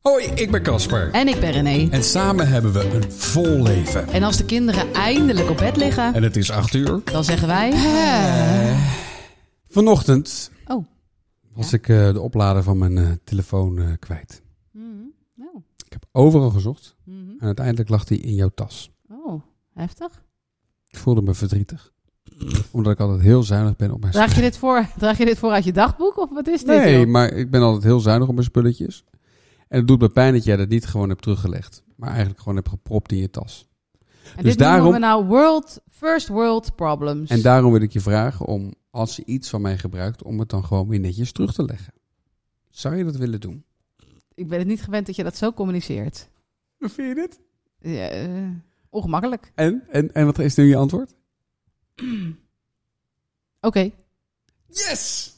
Hoi, ik ben Casper. En ik ben René. En samen hebben we een vol leven. En als de kinderen eindelijk op bed liggen, En het is acht uur. dan zeggen wij... Vanochtend Eh. Oh, was ik eh, de oplader van mijn eh, telefoon eh, kwijt. nou. Ik heb overal gezocht Mhm. en uiteindelijk lag die in jouw tas. oh heftig. Ik voelde me verdrietig. Omdat ik altijd heel zuinig ben op mijn Draag je, dit voor, draag je dit voor uit je dagboek of wat is dit? spulletjes. Nee, joh? maar ik ben altijd heel zuinig op mijn spulletjes. En het doet me pijn dat jij dat niet gewoon hebt teruggelegd. Maar eigenlijk gewoon hebt gepropt in je tas. en dus dit noemen daarom- we nou world, first world problems. En daarom wil ik je vragen om, als je iets van mij gebruikt, om het dan gewoon weer netjes terug te leggen. Zou je dat willen doen? ik ben het niet gewend dat je dat zo communiceert. Vind je dit? Ja, eh, ongemakkelijk. En, en, en wat is nu je antwoord? Oké, Yes!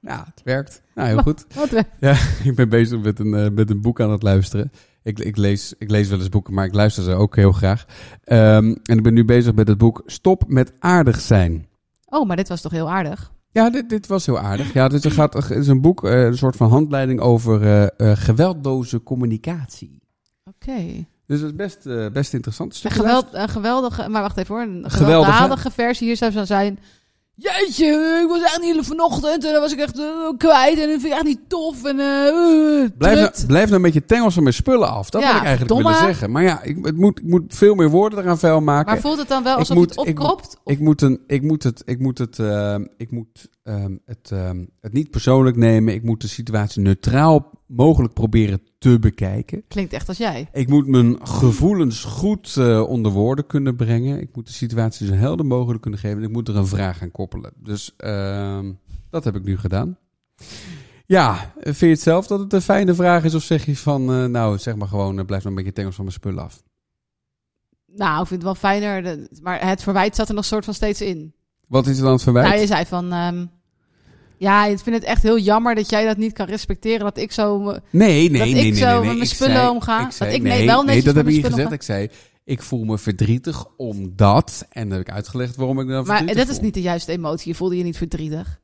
Nou, het werkt. Nou, heel goed. wat we... ik ben bezig met een, eh, met een boek aan het luisteren. Ik, ik, lees, ik lees wel eens boeken, maar ik luister ze ook heel graag. Ehm, en ik ben nu bezig met het boek Stop met aardig zijn. Oh, maar dit was toch heel aardig? Ja, dit, dit was heel aardig. Ja, dit gaat, het is een boek, eh, een soort van handleiding over eh, eh, geweldloze communicatie. Oké. Dus dat is best, eh, best interessant. Een, Stukje geweld, een geweldige... Maar wacht even hoor. Een Geweldige. gewelddadige versie hier zou zo zijn... Jeetje, ik was echt niet vanochtend en dan was ik echt eh, kwijt en dat vind ik echt niet tof en eh, eh Blijf, trut. nou- blijf nou met je tengels van mijn spullen af. Dat Ja, wil ik eigenlijk verdomme. willen zeggen. Maar ja, ik, het moet, ik moet veel meer woorden eraan vuil maken. Maar voelt het dan wel Ik alsof moet- je ik het moet- opkropt? Of- ik moet, een, ik moet het, ik moet het, ehm, ik moet, ehm, het, ehm, het niet persoonlijk nemen. Ik moet de situatie neutraal mogelijk proberen te bekijken. Klinkt echt als jij. Ik moet mijn gevoelens goed eh, onder woorden kunnen brengen. Ik moet de situatie zo helder mogelijk kunnen geven. En ik moet er een vraag aan koppelen. Dus ehm, dat heb ik nu gedaan. Ja, eh, vind je het zelf dat het een fijne vraag is? Of zeg je van, eh, nou zeg maar gewoon, eh, blijf maar een beetje tengels van mijn spullen af. Nou, ik vind het wel fijner. de- Maar het verwijt zat er nog soort van steeds in. Wat is er dan het verwijt? Nou, je zei van... ehm, ja, ik vind het echt heel jammer dat jij dat niet kan respecteren. Dat ik zo... me- Nee, nee, Dat nee, ik nee, zo nee, met nee. mijn Ik spullen zei- omga. ik zei, Dat ik nee, nee, wel nee, netjes dat met heb mijn ik niet spullen gezegd. Ik zei, ik voel me verdrietig omdat... En dan heb ik uitgelegd waarom ik me dan Maar verdrietig dat is voel. niet de juiste emotie. Je voelde je niet verdrietig.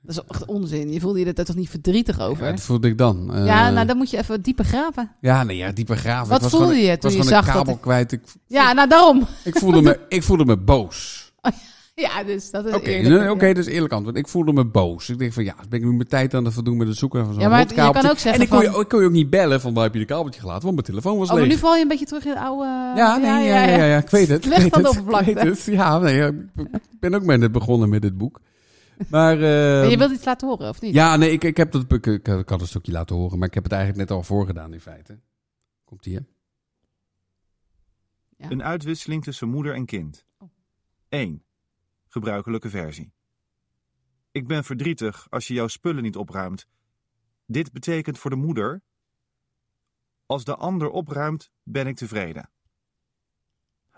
Dat is echt onzin. Je voelde je er toch niet verdrietig Ja, over? dat voelde ik dan. Eh, Ja, nou dan moet je even dieper graven. ja, nee, ja, dieper graven. Wat Ik was voelde gewoon- je ik was toen je gewoon een zag dat kabel ik- kwijt. Ik, Ja, nou daarom. ik, voelde me, ik voelde me boos. Ja, dus dat is Oké, eerlijk. nee, oké, dus eerlijk antwoord. Ik voelde me boos. Ik denk van, ja, ben ik nu mijn tijd aan het verdoen met het zoeken van zo'n Ja, maar je rotkabeltje. kan ook zeggen En ik kon, je, van- ik kon je ook niet bellen van, waar heb je de kabeltje gelaten? Want mijn telefoon was Oh, maar leeg. nu val je een beetje terug in het oude... eh, Ja, nee, ja, ja, ja, ja, ik weet het. ik Weg weet van de het, oppervlakte. ik weet het. Ja, nee, ja, ik b- ben ook net begonnen met dit boek. Maar, eh, Maar je wilt iets laten horen, of niet? ja, nee, ik, ik heb dat boek, ik, ik had een stukje laten horen, maar ik heb het eigenlijk net al voorgedaan in feite. Komt hier. Ja. Een uitwisseling tussen moeder en kind. Oh. 1. Gebruikelijke versie. Ik ben verdrietig als je jouw spullen niet opruimt. Dit betekent voor de moeder. Als de ander opruimt, ben ik tevreden.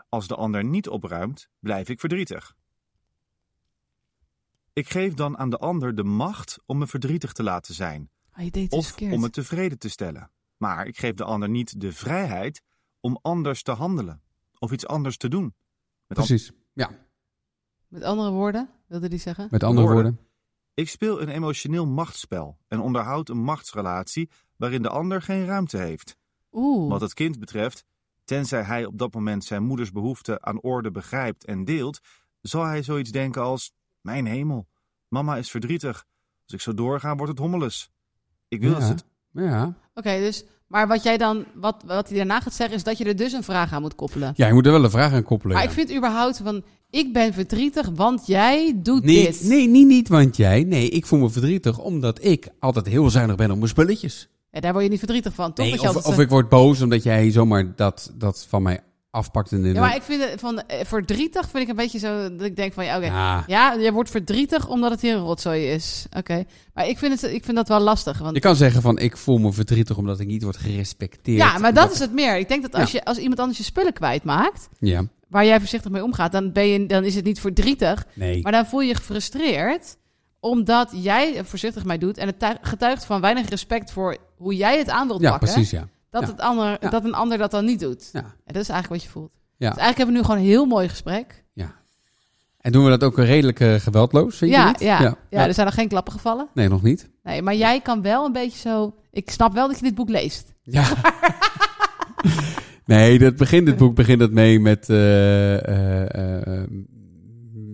Als de ander niet opruimt, blijf ik verdrietig. Ik geef dan aan de ander de macht om me verdrietig te laten zijn Oh, je deed het dus of verkeerd. om het tevreden te stellen. Maar ik geef de ander niet de vrijheid om anders te handelen of iets anders te doen. Met an- Precies. Ja, Met andere woorden, wilde die zeggen? met andere Woorden. woorden. ik speel een emotioneel machtsspel en onderhoud een machtsrelatie waarin de ander geen ruimte heeft. Oeh. Wat het kind betreft, tenzij hij op dat moment zijn moeders behoefte aan orde begrijpt en deelt, zal hij zoiets denken als: Mijn hemel, mama is verdrietig. Als ik zo doorga, wordt het hommeles. Ik wil dat ze Ja, ja. Oké, dus... Maar wat jij dan... Wat, wat hij daarna gaat zeggen, is dat je er dus een vraag aan moet koppelen. ja, je moet er wel een vraag aan koppelen. Maar ja. ik vind überhaupt van... Ik ben verdrietig, want jij doet Nee, dit. nee, niet, niet, want jij. Nee, ik voel me verdrietig omdat ik altijd heel zuinig ben op mijn spulletjes. Ja, daar word je niet verdrietig van, toch? Nee, Dat je of, altijd of zo- ik word boos omdat jij zomaar dat, dat van mij afpakt. En in Ja, maar ik vind het van eh, verdrietig vind ik een beetje zo dat ik denk van ja, oké. Ja. Ja, je wordt verdrietig omdat het hier een rotzooi is. Oké. Maar ik vind, het, ik vind dat wel lastig. Want, Je kan zeggen van ik voel me verdrietig omdat ik niet word gerespecteerd. ja, maar Omdat- dat is het meer. Ik denk dat als, je, als iemand anders je spullen kwijtmaakt, Ja, waar jij voorzichtig mee omgaat, dan, ben je, dan is het niet verdrietig. nee. Maar dan voel je je gefrustreerd omdat jij er voorzichtig mee doet. En het tuig- getuigt van weinig respect voor hoe jij het aan wilt ja, pakken. precies, ja. Dat, Ja. Het ander, Ja. dat een ander dat dan niet doet. ja. En dat is eigenlijk wat je voelt. Ja. Dus eigenlijk hebben we nu gewoon een heel mooi gesprek. En doen we dat ook redelijk eh, geweldloos, vind je ja, niet? Ja, dus- ja. ja. er zijn nog geen klappen gevallen. Nee, nog niet. Nee, maar jij kan wel een beetje zo... Ik snap wel dat je dit boek leest. Ja. nee, dat begint, dit boek begint het mee met, eh, eh, eh,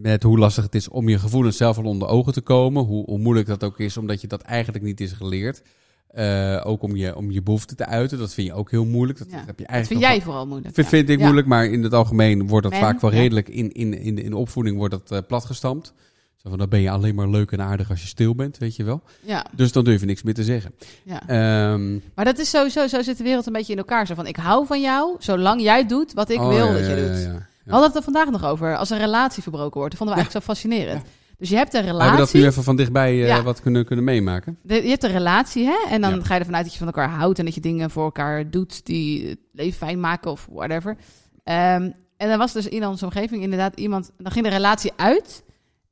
met hoe lastig het is om je gevoelens zelf al onder ogen te komen. Hoe, hoe moeilijk dat ook is, omdat je dat eigenlijk niet is geleerd. Eh, ook om je, om je behoefte te uiten, dat vind je ook heel moeilijk. Dat Ja, heb je eigenlijk Dat vind nog- jij vooral moeilijk. Vind, ja. vind ik Ja. moeilijk, maar in het algemeen wordt dat Men, vaak wel ja. redelijk in, in, in, de- in de opvoeding wordt dat eh, platgestampt. Zo van, dan ben je alleen maar leuk en aardig als je stil bent, weet je wel. Ja, Dus dan durf je niks meer te zeggen. ja. Ehm, Maar dat is sowieso, zo zit de wereld een beetje in elkaar. Zo van, ik hou van jou, zolang jij doet wat ik oh, wil ja, dat je ja, ja, doet. ja, ja. We hadden het er vandaag nog over, als een relatie verbroken wordt. Dat vonden we eigenlijk zo fascinerend. Dus je hebt een Hebben we dat nu relatie, even van dichtbij eh, Ja. wat kunnen, kunnen meemaken? de- je hebt een relatie, hè? En dan Ja. ga je ervan uit dat je van elkaar houdt en dat je dingen voor elkaar doet die het leven fijn maken of whatever. Ehm, en dan was dus in onze omgeving inderdaad iemand, dan ging de relatie uit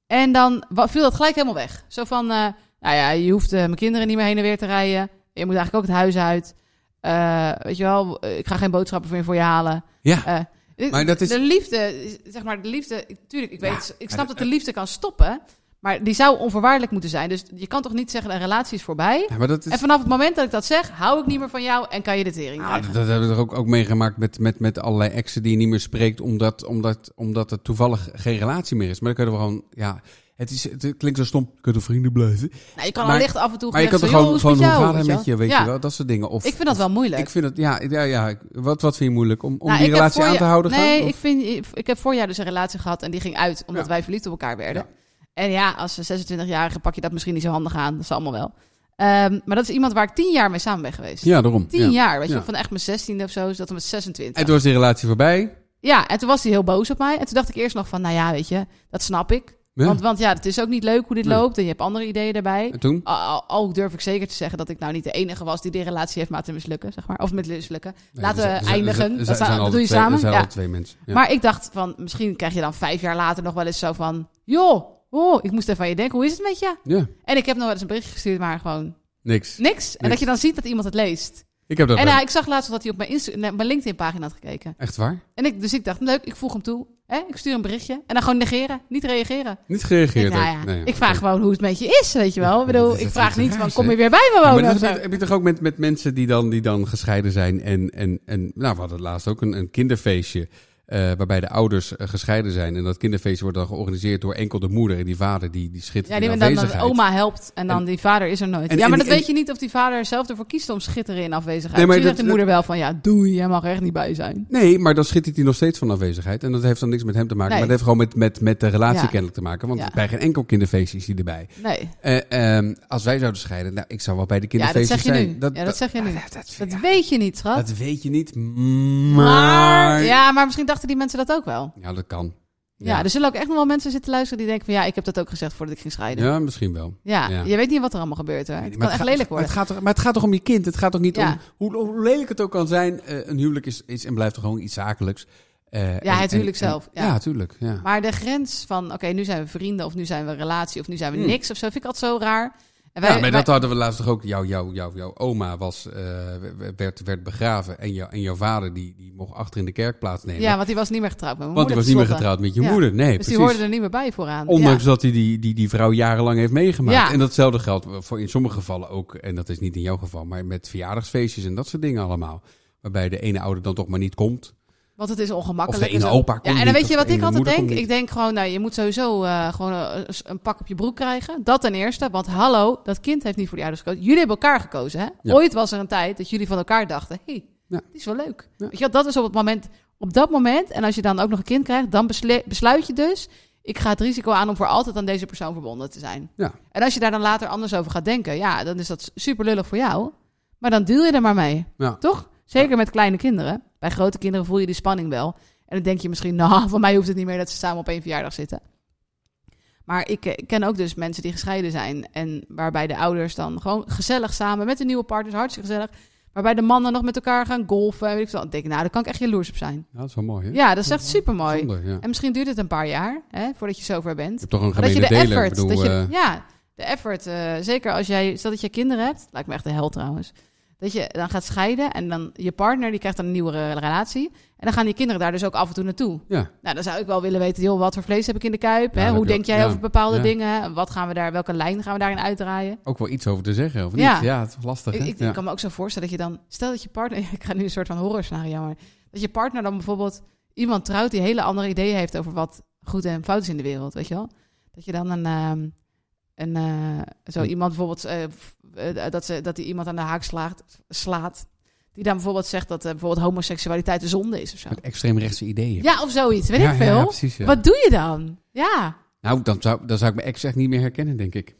en dan wa- viel dat gelijk helemaal weg. Zo van, eh, nou ja, je hoeft eh, mijn kinderen niet meer heen en weer te rijden. Je moet eigenlijk ook het huis uit. Eh, weet je wel, eh, ik ga geen boodschappen meer voor je halen. Ja, Eh, Maar dat is- De liefde, is- zeg maar, de liefde... ik- Tuurlijk, ik, Ja, weet, ik maar snap dat de liefde kan stoppen. Maar die zou onvoorwaardelijk moeten zijn. Dus je kan toch niet zeggen, een relatie is voorbij. ja dus- maar dat is... En vanaf het moment dat ik dat zeg, hou ik niet meer van jou en kan je de tering Ah, krijgen. dat, dat hebben we toch ook, ook meegemaakt met, met, met allerlei exen die je niet meer spreekt, omdat, omdat, omdat er toevallig geen relatie meer is. Maar dan kunnen we gewoon, ja, het, is, het klinkt zo stom, je kunt toch vrienden blijven. nou, je kan maar- allicht af en toe Maar je kan gezegd toch zo, gewoon, joh, gewoon hoe is hoe het met gaat het jou, met je, weet Ja. je wel, dat soort dingen. Of, Ik vind dat wel moeilijk. Ik vind het, ja, ja, ja. ik- Wat, wat vind je moeilijk? Om, om Nou, die ik heb relatie voor aan je- te houden? Nee, gaan? ik, vind, ik- ik heb vorig jaar dus een relatie gehad en die ging uit omdat Ja. wij verliefd op elkaar werden. En ja, als 26-jarige pak je dat misschien niet zo handig aan. Dat is allemaal wel. Ehm, maar dat is iemand waar ik tien jaar mee samen ben geweest. Ja, daarom. Tien ja. jaar, weet je, Ja. van echt mijn 16 of zo, is dat mijn 26. En toen was die relatie voorbij. Ja, en toen was hij heel boos op mij. En toen dacht ik eerst nog van, nou ja, weet je, dat snap ik. Ja. Want, want ja, het is ook niet leuk hoe dit Nee. loopt en je hebt andere ideeën daarbij. en toen? Al, al- al durf ik zeker te zeggen dat ik nou niet de enige was die die relatie heeft laten mislukken, zeg maar. Of met mislukken. Laten Er zijn- er we zijn- er eindigen. zijn- er zijn dat, zou- dat altijd doe je twee- samen. Er zijn ja. al twee mensen. Ja. Maar ik dacht van, misschien krijg je dan vijf jaar later nog wel eens zo van... joh, oh, ik moest even aan je denken, hoe is het met je? Ja, En ik heb nog wel eens een berichtje gestuurd, maar gewoon niks. niks. Niks. En dat je dan ziet dat iemand het leest. Ik heb dat En wel. eh, ik zag laatst dat hij op mijn, Insta- nee, op mijn LinkedIn-pagina had gekeken. Echt waar? En ik, dus ik dacht, leuk, ik voeg hem toe. Hè? Ik stuur een berichtje. En dan gewoon negeren, niet reageren. Niet gereageerd. Ik, denk, nou ook. ja, Nee, ik oké. vraag gewoon hoe het met je is, weet je wel. Ja, Ik bedoel, dat is ik echt vraag iets niet van, raars, kom hè? je weer bij me Ja, maar wonen? dat of heb, zo. je- heb je toch ook met, met mensen die dan, die dan gescheiden zijn. En, en, en nou, we hadden laatst ook een, een kinderfeestje. eh, waarbij de ouders eh, gescheiden zijn. En dat kinderfeestje wordt dan georganiseerd door enkel de moeder. En die vader die, die schittert Ja, die in dan, dan afwezigheid. oma helpt en dan En- die vader is er nooit. en- ja, maar en- dat en- weet je niet of die vader zelf ervoor kiest om schitteren in afwezigheid. Nee, maar Misschien dat- zegt de moeder wel van, ja, doei, jij mag er echt niet bij zijn. Nee, maar dan schittert hij nog steeds van afwezigheid. En dat heeft dan niks met hem te maken. Nee. Maar dat heeft gewoon met, met, met de relatie Ja. kennelijk te maken. Want Ja. bij geen enkel kinderfeestje is hij erbij. Nee, Eh, ehm, als wij zouden scheiden, nou, ik zou wel bij de ja, dat kinderfeestjes zeg je zijn. nu. ja, dat zeg je nu. dat- dat- Dat ja, weet je niet, schat. dat weet je niet. Maar. Ja, maar misschien dachten die mensen dat ook wel. Ja, dat kan. Ja, er zullen ook echt nog wel mensen zitten luisteren die denken van... ja, ik heb dat ook gezegd voordat ik ging scheiden. Ja, misschien wel. dus- Ja, Ja. je weet niet wat er allemaal gebeurt hoor. Het Nee, kan maar echt het lelijk Maar het, worden. gaat toch, maar het gaat toch om je kind? Het gaat toch niet Ja. om... Hoe, hoe lelijk het ook kan zijn, eh, een huwelijk is, is en blijft toch gewoon iets zakelijks. Eh, en- het en- huwelijk en- zelf, ja. Ja, tuurlijk. Ja. Maar de grens van, oké, nu zijn we vrienden of nu zijn we een relatie of nu zijn we Hmm. niks of zo, vind ik altijd zo raar. En ja, maar dat wij- hadden we laatst toch ook. Jouw jou, jou, jou oma was, eh, werd, werd begraven en, jou, en jouw vader die, die mocht achter in de kerk plaatsnemen. ja, want die was niet meer getrouwd met mijn want moeder. hij was niet meer tenslotte. getrouwd met je Ja. moeder. Nee, Dus precies. die hoorden er niet meer bij vooraan. Ondanks ja. dat hij die, die, die vrouw jarenlang heeft meegemaakt. Ja. En datzelfde geldt voor in sommige gevallen ook, en dat is niet in jouw geval, maar met verjaardagsfeestjes en dat soort dingen allemaal. Waarbij de ene ouder dan toch maar niet komt. Want het is Of ongemakkelijk. de ene en zo. opa komt Ja, en niet, dan weet of je wat de ik ene altijd moeder denk? komt niet. Ik denk gewoon, nou, je moet sowieso eh, gewoon eh, een pak op je broek krijgen. Dat ten eerste. Want hallo, dat kind heeft niet voor die ouders gekozen. Jullie hebben elkaar gekozen, hè? Ja. Ooit was er een tijd dat jullie van elkaar dachten... hé, hey, Ja. die is wel leuk. Ja. Weet je, wel, dat is op het moment... Op dat moment, en als je dan ook nog een kind krijgt... dan besle- besluit je dus... ik ga het risico aan om voor altijd aan deze persoon verbonden te zijn. Ja. En als je daar dan later anders over gaat denken... ja, dan is dat super lullig voor jou. Maar dan deal je er maar mee. Ja. Toch? Zeker met kleine kinderen. Bij grote kinderen voel je die spanning wel. En dan denk je misschien, nou, van mij hoeft het niet meer dat ze samen op één verjaardag zitten. Maar ik eh, ken ook dus mensen die gescheiden zijn. En waarbij de ouders dan gewoon gezellig samen met hun nieuwe partners, hartstikke gezellig. Waarbij de mannen nog met elkaar gaan golfen. En weet ik veel. Dan denk ik, nou, daar kan ik echt jaloers op zijn. Ja, dat is wel mooi, hè? Ja, dat is echt super mooi. Zonde, ja. En misschien duurt het een paar jaar hè, voordat je zover bent. Je hebt toch een Maar dat je gemene de deler. effort, ik bedoel, dat je, eh, ja, de effort. eh, zeker als jij, stel dat je kinderen hebt, lijkt me echt de hel trouwens. Dat je dan gaat scheiden en dan je partner die krijgt dan een nieuwe re- relatie. En dan gaan die kinderen daar dus ook af en toe naartoe. Ja. Nou, dan zou ik wel willen weten, joh, wat voor vlees heb ik in de kuip? Ja, hè? dat Hoe heb je denk ook- jij ja, over bepaalde ja. dingen? Wat gaan we daar, welke lijn gaan we daarin uitdraaien? Ook wel iets over te zeggen, of niet? Ja. Ja, het is lastig, Ik, hè? ik, ja. ik kan me ook zo voorstellen dat je dan... Stel dat je partner... Ik ga nu een soort van horror scenario, maar... Dat je partner dan bijvoorbeeld iemand trouwt die hele andere ideeën heeft over wat goed en fout is in de wereld, weet je wel? Dat je dan een... ehm, een eh, zo Een- iemand bijvoorbeeld... eh, f- eh, dat ze dat die iemand aan de haak slaat, slaat. Die dan bijvoorbeeld zegt dat eh, bijvoorbeeld homoseksualiteit een zonde is of zo. Met extreemrechtse ideeën. Ja, of zoiets. Weet Ja, ik ja, veel. ja, precies, ja. Wat doe je dan? Ja. Nou, dan zou, dan zou ik mijn ex echt niet meer herkennen, denk ik.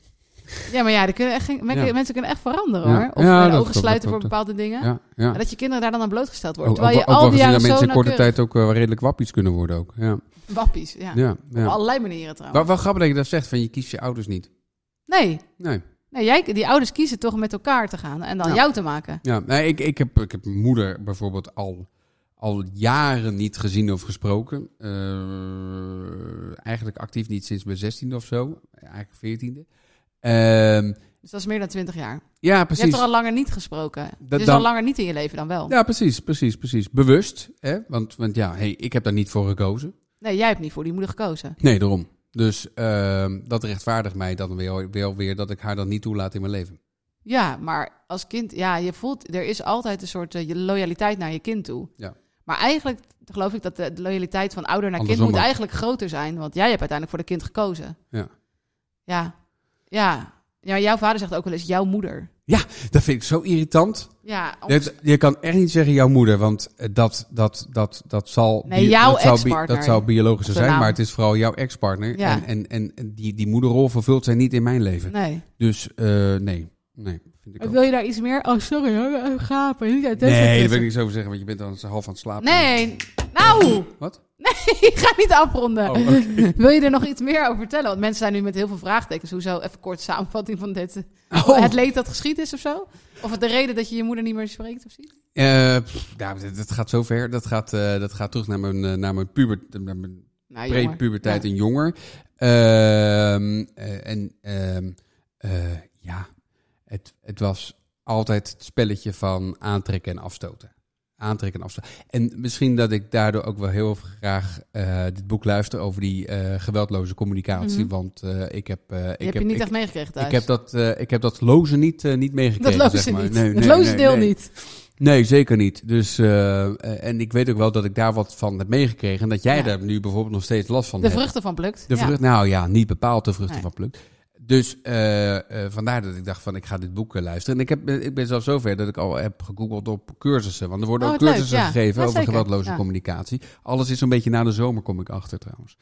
Ja, maar ja, er kunnen echt geen, men- Ja. mensen kunnen echt veranderen Ja. hoor. Of Ja, dat hun klopt, ogen dat sluiten voor klopt. bepaalde dingen. Ja, ja. Maar dat je kinderen daar dan aan blootgesteld worden. Ook, ook, terwijl je wel- ook al wel die gezien jaren dat zo mensen in korte nauwkeurig... tijd ook eh, redelijk wappies kunnen worden ook. Ja, Wappies, ja. ja. Op ja. allerlei manieren trouwens. Wel, wel grappig dat je dat zegt, van je kiest je ouders niet. Nee, Nee. nee jij, die ouders kiezen toch om met elkaar te gaan en dan Ja. jou te maken. Ja, nee, ik, ik, heb, ik heb mijn moeder bijvoorbeeld al, al jaren niet gezien of gesproken. Eh, eigenlijk actief niet sinds mijn zestiende of zo. Eigenlijk veertiende. Ehm, Dus dat is meer dan twintig jaar. ja, Je hebt precies. er al langer niet gesproken. Dat dus dan- al langer niet in je leven dan wel. Ja, precies, precies, precies. Bewust, hè? Want, want ja, hey, ik heb daar niet voor gekozen. Nee, jij hebt niet voor die moeder gekozen. Nee, daarom. Dus ehm, dat rechtvaardigt mij dan wel, wel weer dat ik haar dan niet toelaat in mijn leven. Ja, maar als kind, ja, je voelt, er is altijd een soort eh, je loyaliteit naar je kind toe. Ja. Maar eigenlijk geloof ik dat de, de loyaliteit van ouder naar Andersom kind moet ook. eigenlijk groter zijn. Want jij hebt uiteindelijk voor de kind gekozen. Ja. Ja. Ja. Ja, jouw vader zegt ook wel eens jouw moeder. Dat vind ik zo irritant. Ja, om- Je, je kan echt niet zeggen jouw moeder, want eh, dat, dat, dat, dat zal. Nee, jouw dat zou, bi- ex-partner. dat zou biologisch Of de zijn, naam. maar het is vooral jouw ex-partner. Ja. En, en, en en die, die moederrol vervult zij niet in mijn leven. nee. Dus eh, nee. Nee, vind ik ook. Wil je daar iets meer? Oh, sorry hoor, gapen. Niet uit Nee, daar wil ik niks over zeggen, want je bent dan half aan het slapen. Nee, nou, Wat? ik ga niet afronden. Oh, oké. Wil je er nog iets meer over vertellen? Want mensen zijn nu met heel veel vraagtekens. Hoezo, even kort samenvatting van dit. Oh. Het leed dat geschied is of zo? Of het de reden dat je je moeder niet meer spreekt of ziet? Eh, pff, ja, dat, dat gaat zo ver. Dat gaat, eh, dat gaat terug naar mijn, eh, naar mijn, puber, naar mijn Nou, jammer. pre-puberteit Ja. en jonger. Ehm, eh, en ehm, eh, ja, het, het was altijd het spelletje van aantrekken en afstoten. Aantrekken en afstoten. En misschien dat ik daardoor ook wel heel graag eh, dit boek luister over die eh, geweldloze communicatie. Mhm. Want eh, ik heb... eh, ik Je hebt heb je niet ik, echt meegekregen thuis. ik heb dat, eh, ik heb dat lozen niet, eh, niet dat meegekregen. loze zeg maar. niet. Nee, het nee, loze nee, deel nee. niet. Nee, zeker niet. Dus, eh, eh, en ik weet ook wel dat ik daar wat van heb meegekregen. En dat jij Ja. daar nu bijvoorbeeld nog steeds last van De hebt. vruchten van plukt. De ja. vrucht, nou ja, niet bepaald de vruchten Nee. van plukt. Dus eh, eh, vandaar dat ik dacht van, ik ga dit boek eh, luisteren. En ik, heb, ik ben zelfs zover dat ik al heb gegoogeld op cursussen. Want er worden Oh, ook wat leuk, cursussen ja. gegeven Ja, over zeker. geweldloze Ja. communicatie. Alles is een beetje na de zomer, kom ik achter trouwens.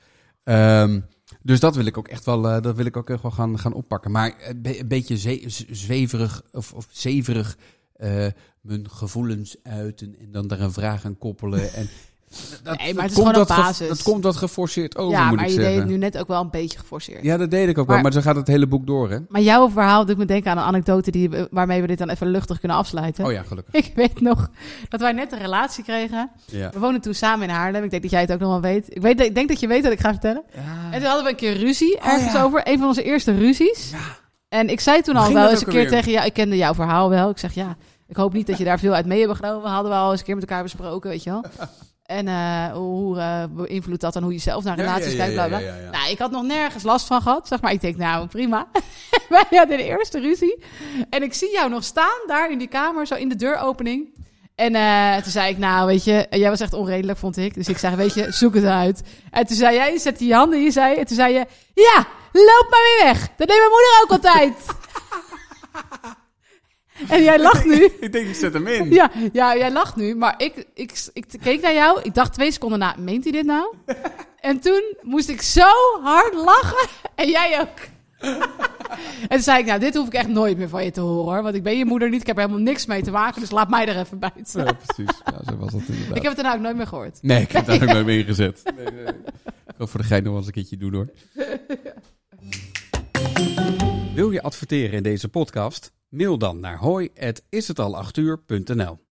Ehm, dus dat wil ik ook echt wel, eh, dat wil ik ook echt wel gaan, gaan oppakken. Maar een be- een beetje ze- z- zweverig of, of zeverig eh, mijn gevoelens uiten en dan daar een vraag aan koppelen. En dat, Nee, maar het is komt gewoon een dat ge- basis. dat komt wat geforceerd over, ja, oh, moet maar ik je zeggen. deed het nu net ook wel een beetje geforceerd. Ja, dat deed ik ook wel, Maar- maar zo gaat het hele boek door, hè? Maar jouw verhaal doet me denken aan een anekdote die, we- waarmee we dit dan even luchtig kunnen afsluiten. Oh ja, gelukkig. Ik weet nog dat wij net een relatie kregen. Ja. We woonden toen samen in Haarlem. Ik denk dat jij het ook nog wel weet. Ik, weet, dat- ik denk dat je weet wat ik ga vertellen. En toen hadden we een keer ruzie ergens Oh, ja. over. Een van onze eerste ruzies. En ik zei toen Hoe al ging wel dat eens een ook keer alweer? tegen jou... Ik kende jouw verhaal wel. Ik zeg, ja, ik hoop niet dat je daar veel uit mee hebt genomen. Hadden we al eens een keer met elkaar besproken, weet je wel. En eh, hoe eh, beïnvloedt dat dan hoe je zelf naar relaties kijkt, bla bla. Nou, ik had nog nergens last van gehad, zeg maar. Ik denk, nou, prima. Wij hadden de eerste ruzie. En ik zie jou nog staan daar in die kamer, zo in de deuropening. En eh, toen zei ik, nou, weet je, jij was echt onredelijk, vond ik. Dus ik zei, weet je, zoek het uit. En toen zei jij, je zette je handen in je zij. En toen zei je, ja, loop maar weer weg. Dat deed mijn moeder ook altijd. en jij lacht nu. Ik denk, ik zet hem in. Ja, ja, jij lacht nu, maar ik, ik, ik keek naar jou. Ik dacht twee seconden na, meent hij dit nou? En toen moest ik zo hard lachen. En jij ook. En toen zei ik, nou, dit hoef ik echt nooit meer van je te horen, hoor. Want ik ben je moeder niet, ik heb er helemaal niks mee te maken. Dus laat mij er even bij zitten. Ja, precies. Ja, zo was dat inderdaad. Ik heb het daarna ook nooit meer gehoord. Nee, ik heb daar ook nooit mee ingezet. Ik wil voor de gein nog wel eens een keertje doen, hoor. Wil je adverteren in deze podcast? Mail dan naar hoi@ishetal8uur.nl